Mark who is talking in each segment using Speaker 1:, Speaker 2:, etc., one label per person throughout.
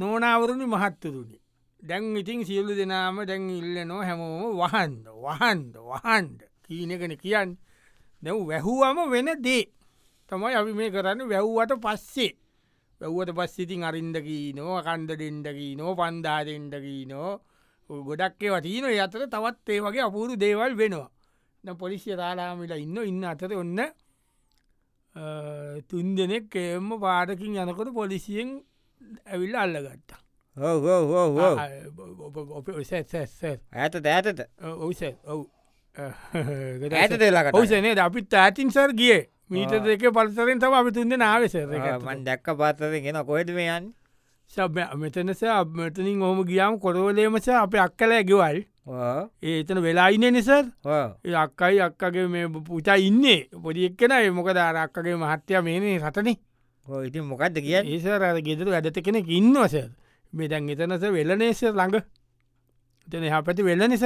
Speaker 1: නෝනාවරුණි මහත්තුරුණි දැන් ඉතින් සියලු දෙනාම දැන් ඉල්ලනෝ හැමෝම වහන්ද වහන්ද වහන්ඩ කීනගෙන කියන්න දැව් වැැහුවම වෙන දේ තමයි අපි මේ කරන්න වැැව්වට පස්සේ වැැව්වට පස්සිතින් අරින්දකී නෝ කණ්ඩ දෙෙන්ඩකී නෝ පන්දා දෙෙන්ඩකී නෝ ගොඩක්ේ වටීන අතර තවත් ඒ වගේ අපූරු දේවල් වෙනවා න පොලිසිය රාලාමිලා ඉන්න ඉන්න අතර ඔන්න තුන් දෙනෙක් එම පාඩකින් යනකොට පොලිසියෙන් ඇවිල්ල අල්ලගත්තා
Speaker 2: ඕ ඇත දෑතට
Speaker 1: ඔවස ඔව
Speaker 2: ඇත දෙලාකට
Speaker 1: ඔවසනේ අපිත් ඇතින්සර් ගිය මීට දෙක පල්සරෙන් තම අපි තුන්ද නාවසර
Speaker 2: මන් දැක්ක පාත්තර ගෙන කොහෙද මේයන්
Speaker 1: සබ මෙතනස මෙතනින් හොම ගියාම් කොරවලේමස අප අක්කල ඇගවල් ඒ එතන වෙලා ඉන්න නිසර් ඒ අක්කයි අක්කගේ මේ පුතා ඉන්නේ පොඩි එක්කෙන මොක දාරක්කගේ මහත්‍යය මේනේ සටන
Speaker 2: ඉතින් මොකක්ද කිය
Speaker 1: ඒසර අර ගෙදර වැඩත කෙනෙක් ඉන්නවස මෙතැන් එතනස වෙල නේස ළඟ එතන එහ පැති වෙල්ල නිස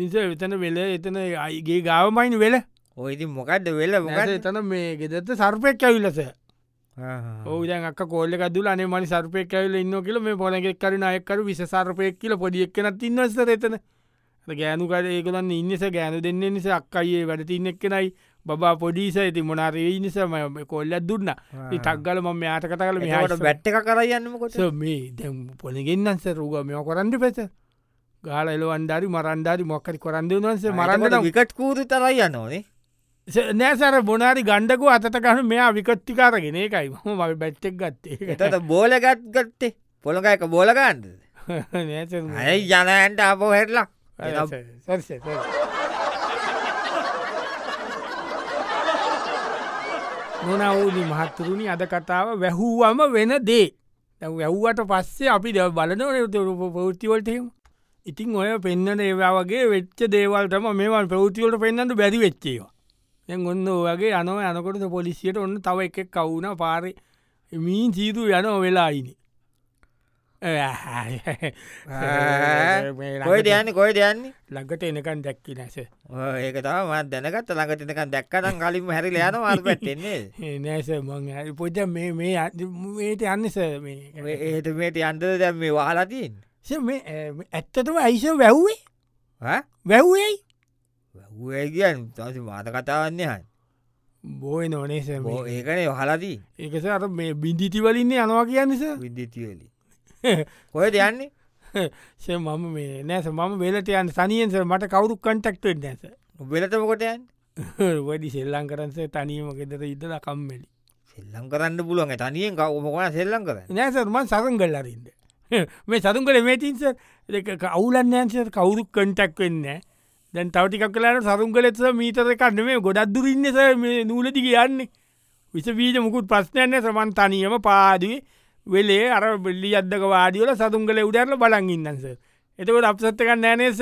Speaker 1: නිස එතන වෙල එතන අයිගේ ගාවමයින් වෙල
Speaker 2: ඔයිති මොකක්ද වෙල
Speaker 1: මොකද එතන මේ ගෙදත සර්පයක් ඇවිලස ඕදන් අක් කෝල දුල අනේ මනි සර්පයක් ඇවිල ඉන්න කියල මේ පොනගෙක් කරන අයකරු විස සර්පයක් කියල පොඩියක්කන තින්නවසර එතන ගෑනුකට ඒකලන්න ඉන්නස ගෑනු දෙන්නේ නිස අක්කයේ වැඩ ඉන්නෙක්කෙනයි බා පොඩිස ඇති මොනාරේ නිසම කොල්ලත් දුන්න තක්ගල ම යාට කත කල
Speaker 2: මෙට බැට්ට කරයන්නකොට
Speaker 1: මේ දැ පොනගෙන්න්නන්ස රූග මෙෝ කරන්න පෙස ගාල එලවන්ඩරි මරන්ඩාරි මොක්කරි කරන්ද වන්සේ
Speaker 2: මරන්නට
Speaker 1: මරන්නට
Speaker 2: විකට් කූරු තරයි යනෝනේ
Speaker 1: නෑසර බොනාරි ගණ්ඩකු අතට ගන මෙයා විකට්ටිකාරගෙන එකයි ම බැට්ටෙක් ගත්තේ
Speaker 2: එතට බෝලගත් ගත්තේ පොළොකයක බෝලගන්ද
Speaker 1: නෑ
Speaker 2: ඇයි ජනයන්ට අපෝ හෙටලා
Speaker 1: Era, ser, ser, ser. නොනවුදි මහත්තුරුණි අද කතාව වැැහූවම වෙන දේ දැන් වැැව්වට පස්සේ අපි ද බලනවනතුරු පෞතිවලටයම ඉතින් ඔය පෙන්න්න ඒවාගේ වෙච්ච දේවල්ටම මේවල් ප්‍රෞතිවලට පෙන්න්නට බැරි වෙච්චේවා දැන් ඔන්න ඔගේ අනෝ යනකොට පොලිසියට ඔන්න තව එකක් කවුන පාරි මීන් සීතු යන වෙලායිනි
Speaker 2: කොයි දයන්න කොයි දයන්නේ
Speaker 1: ලඟට එනකන් දැක්කි නැස
Speaker 2: ඒක තම මත් දැනකත් ළඟටනක දැක්කතන් කලින් හැරිල යන වල් පැටෙන්නේ
Speaker 1: නෑස මං හරි පොජ මේ මේ මේට යන්නස
Speaker 2: ඒට මේට අන්තද දැම් මේ වාලතින්
Speaker 1: ඇත්තටම ඇයිස වැැව්වේ වැැව්වයි
Speaker 2: වැහුවේ කියන් තසි මාත කතාවන්නේ හන්
Speaker 1: බෝය නොනේස
Speaker 2: බෝ ඒකනේ හලදී
Speaker 1: ඒකස අර මේ බිඳිති වලින්නේ යනවා කියන්නස
Speaker 2: විද්දිතිවලි කොය දයන්නේ
Speaker 1: ස මම මේ නෑස මම වෙලට යන්න සනියෙන්ස මට කවුරු කන්ටක්ට නැස
Speaker 2: උබෙලතමකොටයන්
Speaker 1: වැඩි සෙල්ලං කරන්ස තනීම ගෙදර ඉදල කම්මෙලි
Speaker 2: සෙල්ලම් කරන්න පුළුවන් තනියෙන් කවමකන සෙල්ලම් කරන්න
Speaker 1: නෑසර්මන් සරන් කල්ලරින්ද මේ සතුන් කළ මේටින්ස අවුලන් නෑන්සර් කවුරු කටක් වෙන්න දැන් තවටික් කලාට සරුන් කලෙස මීතර කන්න මේ ගොඩක් දුරන්නස නූලති කියන්නේ විස වීජ මුකුත් ප්‍රශ්නයන්න සමන් තනියම පාදී වෙලේ අර බෙල්ලි අදක වාඩියල සතුන් කළ උඩරල බලන් ඉන්නස එතකොට අපසත්තකන්න නෑනේස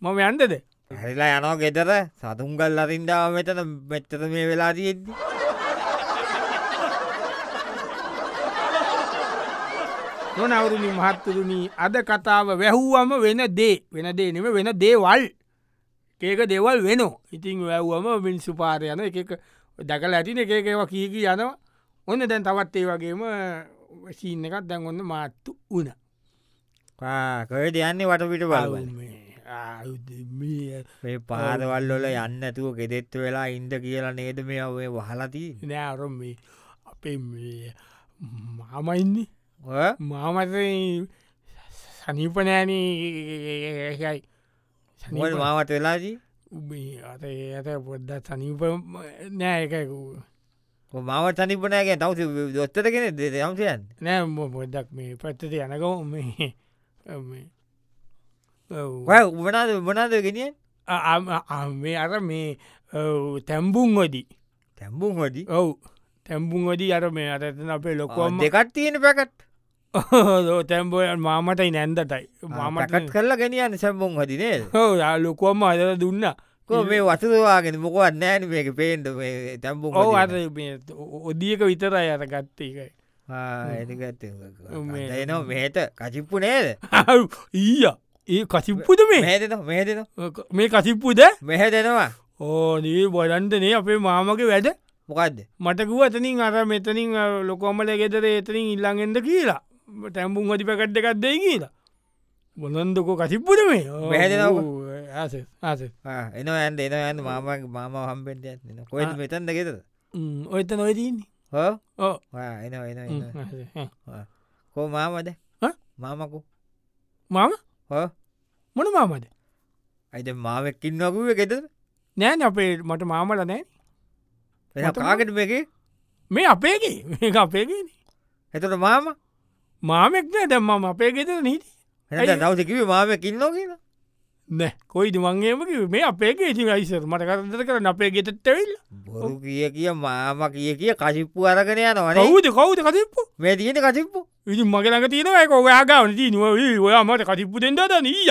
Speaker 1: මම යන්දද
Speaker 2: හැරිලා යනෝ ගෙතර සතුන් කල් අරින්ඩාව මෙතන මෙච්චර මේ වෙලා තියෙද්දි
Speaker 1: නොනවුරුණි මහත්තුරුණී අද කතාව වැැහූවම වෙන දේ වෙන දේනම වෙන දේවල් ඒක දෙවල් වෙනෝ ඉතිං වැැව්වම මිනිස්සු පාර යන එක එක දැකල ඇතින එකකව කියකි යනවා ඔන්න දැන් තවත් ඒ වගේම සීන එකත් දැන් ඔන්න මාත්තු වන
Speaker 2: කොය දයන්නේ වටපිට බලවල මේ පාදවල්ලොල යන්න ඇතුව ගෙදෙත්තු වෙලා ඉන්ද කියලා නේද මේ ඔය වහලතිී
Speaker 1: නෑරම් මේ අපේ මේ මාමයින්නේ මාමත සනීපනෑනයි
Speaker 2: මොල් මාවට වෙලාදී
Speaker 1: උබේ අත ඒ ඇත පොඩ්ඩත් සනීප නෑකකු
Speaker 2: මාව තනිපනෑගේ තවස දොත්තර කෙන දයම්සයන්
Speaker 1: නෑ ම පොඩ්ඩක් මේ පැත්තට යනකව මේ මේ. ඔව්.
Speaker 2: ඔය උබනාද උබනාද ගෙනියෙන්
Speaker 1: අ- අ- අ- මේ අර මේ තැම්බුන් වදී
Speaker 2: තැම්බුම් හොඩි
Speaker 1: ඔවු තැම්බුන් වදී අර මේ අරතන අපේ ලොකෝම
Speaker 2: දෙකත් Oh, තියෙන පැකට්
Speaker 1: තැම්බෝ මාමටයි නැන්දටයි
Speaker 2: මටකට්
Speaker 1: මාමට
Speaker 2: Ah, කරලා ගෙනියන්න සැම්බුම් හදිනේ
Speaker 1: හෝ ලොකෝම අදර දුන්න
Speaker 2: කෝ මේ වසදවාගෙන මොකවත් නෑන මේක පේන්ට තැම්බුම්
Speaker 1: ඔව අර මේ ඔදියක විතරයි අර ගත්තේ එකයි
Speaker 2: ඇනිගත්
Speaker 1: මේ-
Speaker 2: එනෝ මෙහට කචිප්පු නේද
Speaker 1: හව්, ඊය ඒ කසිප්පුද මේ
Speaker 2: මෙහදෙන මෙහදෙන
Speaker 1: මේ කසිප්පුද
Speaker 2: මෙහ දෙනවා
Speaker 1: ඕනී බොලන්ටනේ අපේ මාමක වැඩ
Speaker 2: මොකක්ද
Speaker 1: මටකුව ඇතනින් අර මෙතනින් අ, ලොකෝමල ගෙදර එතනින් ඉල්ලඟෙන්ද කියලා තැම්බුම් අධි පැකට් එකක් දෙයි කියලා බොලොන්දකෝ කසිප්පුට මේ
Speaker 2: වැහැදෙනවකෝ.
Speaker 1: ආස ආස
Speaker 2: එන ඇන්ද එන ඇන්න මාම මාම හම්පෙන්ට ඇත්න කොයි
Speaker 1: ආ.
Speaker 2: මෙතන් දෙකෙතද
Speaker 1: ඔයත නොයදන්නේ
Speaker 2: හෝ
Speaker 1: ඕ
Speaker 2: එන එන
Speaker 1: හ්ම්,
Speaker 2: එන
Speaker 1: ආස. ආ.
Speaker 2: කෝ මාමද
Speaker 1: ඈ?
Speaker 2: මාමකු
Speaker 1: මම
Speaker 2: හෝ
Speaker 1: මොන මාමද
Speaker 2: අයිද මාමක්කින් වකුව එකෙත
Speaker 1: නෑන අපේ මට මාමල නෑ මට මා-
Speaker 2: කාගට මේක
Speaker 1: මේ අපේගේ මේ අපේගෙන
Speaker 2: එතට මාම
Speaker 1: මාමෙක්න දැම්ම අපේ ගෙත නීති ඇයි?
Speaker 2: එට දවසකිව මාමකින් නෝ කියලා
Speaker 1: නෑ කොයිද මංගේමකි මේ අපේගේ ඉති අයිසර මට කරදර කරන අපේ ගෙතත්තවෙල්ල
Speaker 2: බොරු කිය කිය මාම කිය කිය කසිප්පු අරගෙන යනවනේ
Speaker 1: කවුද කවුද කතිප්පු
Speaker 2: මේ තියෙන කසිප්පු
Speaker 1: ඉති මගලඟ තියෙනවයක ඔයාගාවන දී නුව ඔයා මට කතිප්පු දෙෙන්දාද නීය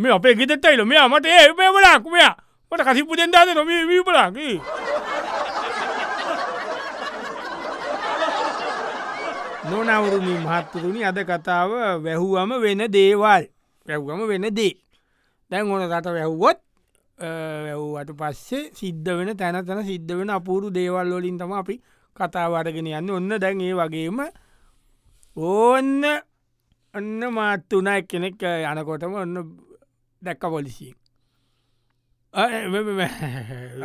Speaker 1: මේ අපේ ගෙතත්තයිල මෙයා මට ඒබලක් මෙයා මට කතිප්පු දෙෙන්දාද නොම වීපලාකි නොනවුරුණින් මහත්තුරුණි අද කතාව වැැහුවම වෙන දේවල් වැැව්ගම වෙන දේ දැන් ඕන රට වැැව්වොත් වැැව්වට පස්සේ සිද්ධ වෙන තැන තැන සිද්ධ වෙන අපූරු දේවල් වලින් තම අපි කතාව අරගෙන යන්න ඔන්න දැන් ඒ වගේම ඕන්න ඔන්න මාත්තුන කෙනෙක් යනකොටම ඔන්න දැක්ක පොලිසිය මම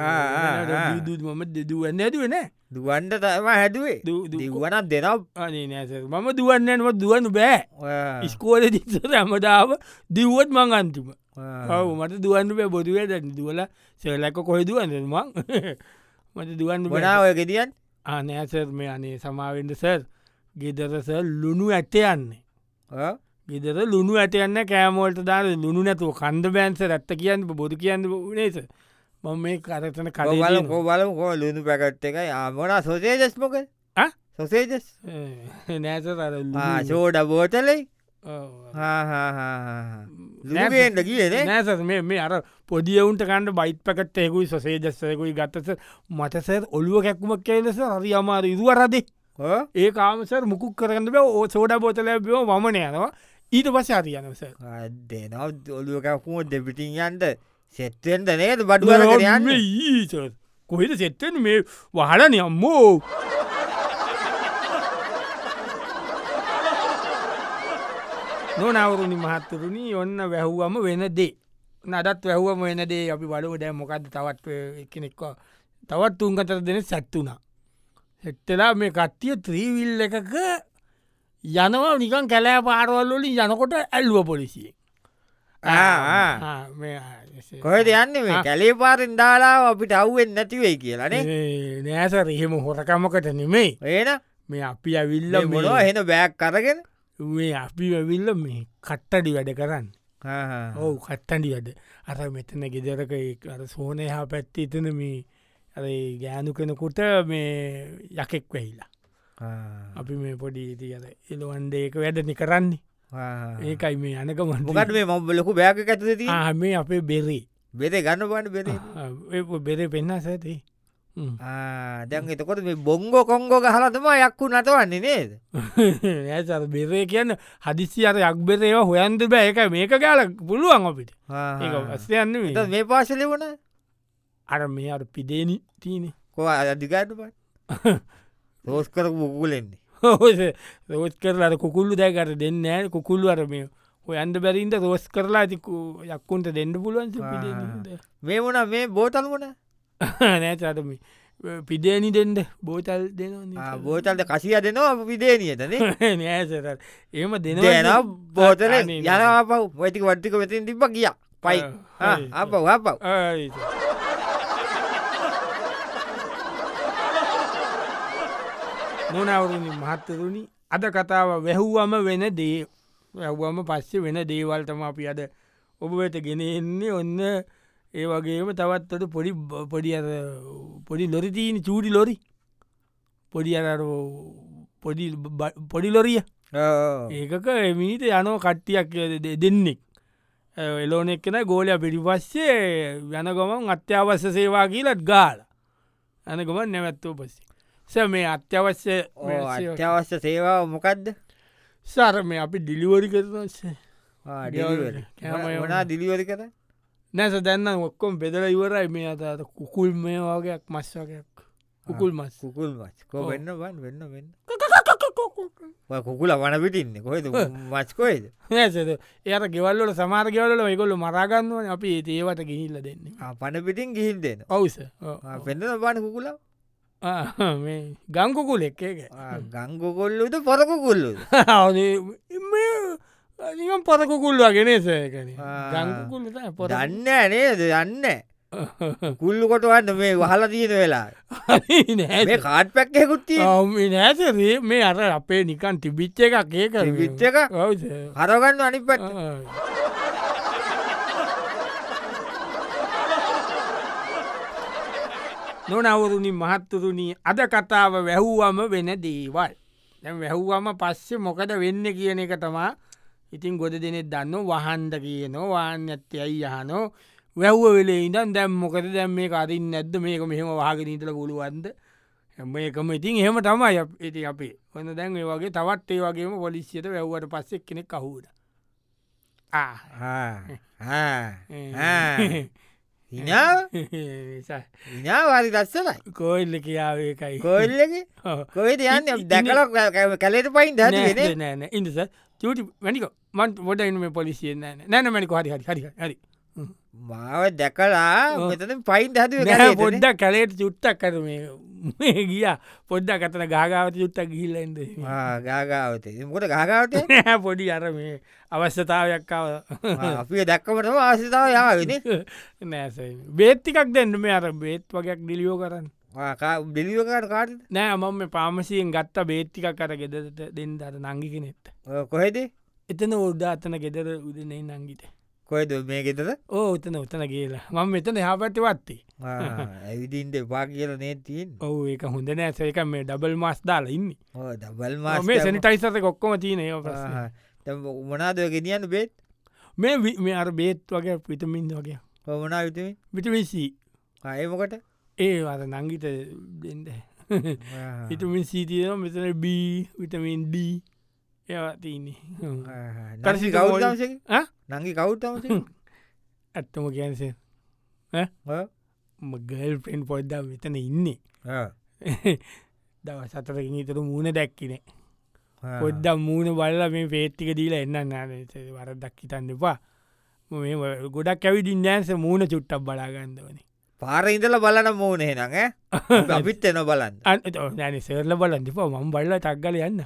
Speaker 1: දෙදුවන්න ඇදුවන
Speaker 2: දුවන්ට තම හැදුවේ දිව්වනත් දෙනම්
Speaker 1: අනේ නෑස මම දුවන්නනම දුවන්න බෑ ඉස්කෝල දිස රැමදාව දිව්වත් මං අන්තිම ඔව මට දුවන්න බෑ බොදුවේ දැන් දුවල සෙලැක කොහෙ දුවන්නමං මට දුවන්න බෑ.
Speaker 2: වඩා ඔය ගෙදියන්
Speaker 1: ආ නෑ සර් මේ අනේ සමාවෙන්ට සර් ගෙදරස ලුණු ඇට යන්නේ ගෙදර ලුණු ඇටයන්න කෑමෝල්ට දා ලුණු නැතුව කන්ද බෑන්ස රැත්ත කියන්න බොදු කියන්න නේස මම මේ කරතන
Speaker 2: කවල
Speaker 1: කඩ
Speaker 2: කෝබලම කෝ ලුණු පැකට් එක ආමනා සොසේදස් මොකල්
Speaker 1: ආ?
Speaker 2: සොසේදස්
Speaker 1: නෑසර
Speaker 2: චෝඩ බෝතලයි ලුගෙන්ට කියනේ
Speaker 1: නෑසර මේ මේ අර පොදියවුන්ට කණ්ඩ බයිත් පැකට් එකුයි සසේජස්සයකුයි ගත්තස මටසර ඔලුව කැක්කුමක් කියලෙස හරි අමාර ඉදුවරදි ඒ කාමසර මුකුක් කරන්න බෑ ඕ සෝඩ බෝතලැබියෝ වමන යනවා ඊට පස්ස අරි යනස
Speaker 2: දෙනව ඔලුවකක්හුව දෙපිටින් යන්ට සෙත්තෙන්ට නේද බඩුවර යන්න
Speaker 1: ඊ කොහෙද සෙත්තෙන් මේ වහලන අම්මෝ නොනවරුණි මහත්තුරුණි ඔන්න වැැහ්වම වෙන දේ නඩත් වැැහ්වම වෙන දේ අපි බලව දැ මොකක්ද තවත් එකනෙක්ව තවත් තුන්කතර දෙන සැත්තුනා හෙට්ටලා මේ කට්ටිය ත්‍රීවිල් එකක යනවා නිකන් කැලෑ පාරවල්ලොලින් යනකොට ඇල්ලුව පොලිසිය
Speaker 2: කොහට යන්න මේ
Speaker 1: ආ.
Speaker 2: කැලේ පාරෙන් දාලා අපිට අව්ුවෙන් නැතිවෙයි කියලනේ
Speaker 1: නෑසර එහෙම හොරකමකට නෙමෙයි
Speaker 2: ඒන
Speaker 1: මේ අපි ඇවිල්ල
Speaker 2: මොනවා හෙන බෑක් කරගෙන
Speaker 1: මේ අපි ඇවිල්ල මේ කට්ටඩි වැඩ කරන්න ඔවු කට්ටඩි වැඩ අර මෙතන ගෙදරක ඒ අර සෝනයහා පැත්ති එතන මේ අර ඒ ගෑනු කෙනකුට මේ යකෙක් වෙහිලා අපි මේ පොඩි ඉති අර එලුවන්ඩේක වැඩනි කරන්නේ ඒකයි මේ යනකම
Speaker 2: මොකට මේ මොබ ලොකු බෑක ඇතුති
Speaker 1: ආ, මේ අපේ බෙරේ
Speaker 2: බෙදේ ගන්න බන්න බෙද
Speaker 1: ආ, ඒ බෙරේ පෙන්න්න සඇති
Speaker 2: දැන් එතකොට මේ බොංගෝ කොංගෝ හලතම යක්කු නතවන්නේ නේද
Speaker 1: ඇ බෙරේ කියන්න හදිසි අර යක්බෙරේවා හොයන්ද බෑ එක මේක ගාල පුළුවන් අපිට ඒ අස්යන්න
Speaker 2: එතකොට මේ පාශලි වන
Speaker 1: අර මේ අර පිදේන තියනෙ
Speaker 2: කෝ අධිකාට ප රෝස් කර පුකුලෙන්නේ
Speaker 1: රෝස් කරලාට කුකුල්ලු දැකට දෙන්න ෑ කුකුල්ලු අරමය හොයන්ද බැරින්ද රෝස් කරලා ඇතිකු යක්කුන්ට දෙන්න පුළුවන්
Speaker 2: මේ වන මේ බෝතල් වන
Speaker 1: නෑචටම පිදේනි දෙෙන්ද බෝතල් දෙන
Speaker 2: බෝතල්ට කසිය දෙනවා විදේනියතනේ
Speaker 1: නෑසර ඒම දෙන
Speaker 2: දෙන බෝතල යන අපව් වැටික වට්ටික වෙතින් තිබ කිය පයි
Speaker 1: ආ,
Speaker 2: අප අපව්
Speaker 1: නොනවරුණි මහත්තරුණි අද කතාව වැැහුවම වෙන දේ වැැව්වම පස්සේ වෙන දේවල්ටම අපි අද ඔබ වෙත ගෙන එන්නේ ඔන්න ඒ වගේම තවත්තට පොඩි බ- පොඩි අර පොඩි ලොරිතීන චූඩි ලොරි පොඩි අර පොඩි බ- පොඩි ලොරිය ඒකක එමිනිට යනෝ කට්ටියක් දෙ- දෙන්නෙක් එලෝනෙක් කෙන ගෝලය පිරිිපස්සේ යන ගොමන් අත්‍යවශ්‍ය සේවා කියලත් ගාල යන ගොමන් නැවැත්තෝ පස්සේ ස මේ අත්‍යවශ්‍ය මේ සේවා-
Speaker 2: අත්‍යවශ්‍ය සේවා මොකක්ද
Speaker 1: සර මේ අපි ඩිලිවරි කරනස්සේ ඩිලිවරි. කෑම
Speaker 2: වනා දිලිවරි කර
Speaker 1: නැස දැන්න ඔක්කොම් බෙදල ඉවරයි මේ අතත කුකුල් මේ වගේයක් මස් වගයක් කුකුල් මස්
Speaker 2: කුකුල් වස් කෝ
Speaker 1: ඔව්.
Speaker 2: වෙන්න වන් වෙන්න වෙන්න ඔය කුකුල වනපිටින්න කොහෙද මස්කොයිද
Speaker 1: නැසද එයට ගෙවල්ලට සමාර ගෙවල්ල එකකොල්ල මරාගන්නුවන අපි ඒ ඒවට ගිහිල්ල දෙන්නේ
Speaker 2: පනපිටින් ගිහින් දෙන
Speaker 1: ඔවුස
Speaker 2: පෙන්ද පන කුකුල
Speaker 1: ගංකුකුල එක්ක එක
Speaker 2: ගංගොකොල්ලුද පොරකුකුල්ලු
Speaker 1: නිම් පරකුකුල්ල වගෙනසයකන
Speaker 2: ආ.
Speaker 1: ගංකුකුල පො
Speaker 2: දන්න නේද දන්න කුල්ලු කොටවන්න මේ වහල තියෙන වෙලා මේ කාට් පැක්කෙකුත්ති
Speaker 1: නැසරේ මේ අර අපේ නිකන් තිබිච්ච එකක් ඒක
Speaker 2: තිබිච්ච එකක්?
Speaker 1: ඔවුස
Speaker 2: හරගන්න අනි පැත්
Speaker 1: නොනවරුණි මහත්තුරුණී අද කතාව වැැහූවම වෙන දේවල්. දැන් වැැහූවම පස්සේ මොකද වෙන්න කියන එක තමා ඉතින් ගොඩ දෙනෙ දන්න වහන්ද කියනෝ වාන්න ඇත්තයයි යහනෝ වැැව්ව වෙලේ ඉඳන් දැම් මොකද දැම් මේ අරින් නැද්ද මේක මෙහෙම වාගෙනීතල පුළුවන්ද හැම එකම ඉතින් එහෙම තමයි අප- ඉතින් අපේ හොඳ දැන් ඒ වගේ තවත් ඒ වගේම පොලිසියට වැැව්වට පස්සෙක් කෙනෙක් කහුට ආ
Speaker 2: ඉනා
Speaker 1: කෝල්ල
Speaker 2: ඉනා වාරි දස්සලයි
Speaker 1: කියාවේ එකයි
Speaker 2: කොල්ලක කොයිද යන්න දැකලක් කලට පයින් දන
Speaker 1: නෑන ඉඳස චටි වැනික මන් ොඩ එනම පොලිසිය නෑන නෑන මැනික හරි හරි හරි හරි
Speaker 2: මාව දැකලා
Speaker 1: ඔව්.
Speaker 2: මෙතන පයින්
Speaker 1: නෑ,
Speaker 2: දතු
Speaker 1: පොඩ්ඩක් කලේට චුට්ටක් කර මේ ගිය පොඩ්ඩක් අතන ගාගාවත යුත්තක් ගිල්ලන්ද
Speaker 2: ගාගාවත මොට ගාගාවට
Speaker 1: පොඩි අර මේ අවශ්‍යතාවයක්කාව
Speaker 2: අපිය දැක්කමට ආසිතාව යාගෙන
Speaker 1: නෑස බේත්තිකක් දෙන්න මේ අර බේත් වගේයක් ඩිලියෝ කරන්න
Speaker 2: බිලිවකට කාට
Speaker 1: නෑ මම මේ පාමසියෙන් ගත්ත බේත්තිකක් කර ගෙදට දෙන්න අර නංගිකෙන එත්ත
Speaker 2: කොහෙද
Speaker 1: එතන ඔඩ්ඩා අතන ගෙදර උදනෙයි නංගිට
Speaker 2: කොයිද මේ ගෙතද
Speaker 1: ඕ උතන උතන කියලා මම මෙතන හාපැති වත්තේ
Speaker 2: ඇවිදින්ට එපා කියල නේතින්
Speaker 1: ඔහු ඒක හොඳ නෑසේක මේ ඩබල් මස් දාලා ඉන්න
Speaker 2: දබල්
Speaker 1: මේ
Speaker 2: මා
Speaker 1: සැනිටයිසත කොක්කොම තියනය ප්‍රශ්න
Speaker 2: උමනාදය ගෙනියන්න බෙත්
Speaker 1: මේ වි- මේ අර බේත් වගේ පිටමින් වගේ
Speaker 2: කොමනා විතමින්
Speaker 1: විටමිසී
Speaker 2: අයමකට
Speaker 1: ඒ අර නංගිත දෙන්ද විටමින් සීතියන මෙතන බී විටමින් ඩී ඒවා තියන්නේ
Speaker 2: නසි
Speaker 1: පැරසිටමෝල්.
Speaker 2: කවුතමස නංගි කවුත්තමස
Speaker 1: ඇත්තම කියන්සේ ගල් පෙන් පොඩ්ඩා මෙතන ඉන්නේ දව සතරකින් ඉතර මූුණ දැක්කිනේ පොද්දම් මූුණ බල්ල මේ පේට්ටික දීලා එන්න නාන වර දක්කිතන්න එපා මේ ව- ගොඩක් ඇවිදිින් නෑන්ස මූුණ චුට්ටක් බලාගන්දවන
Speaker 2: පාර ඉඳල බලන මූනේ නඟ අපිත් එන බලන්න
Speaker 1: අන නෑන සෙරල බලන් දෙපා මම් බල්ල තක්ගල යන්න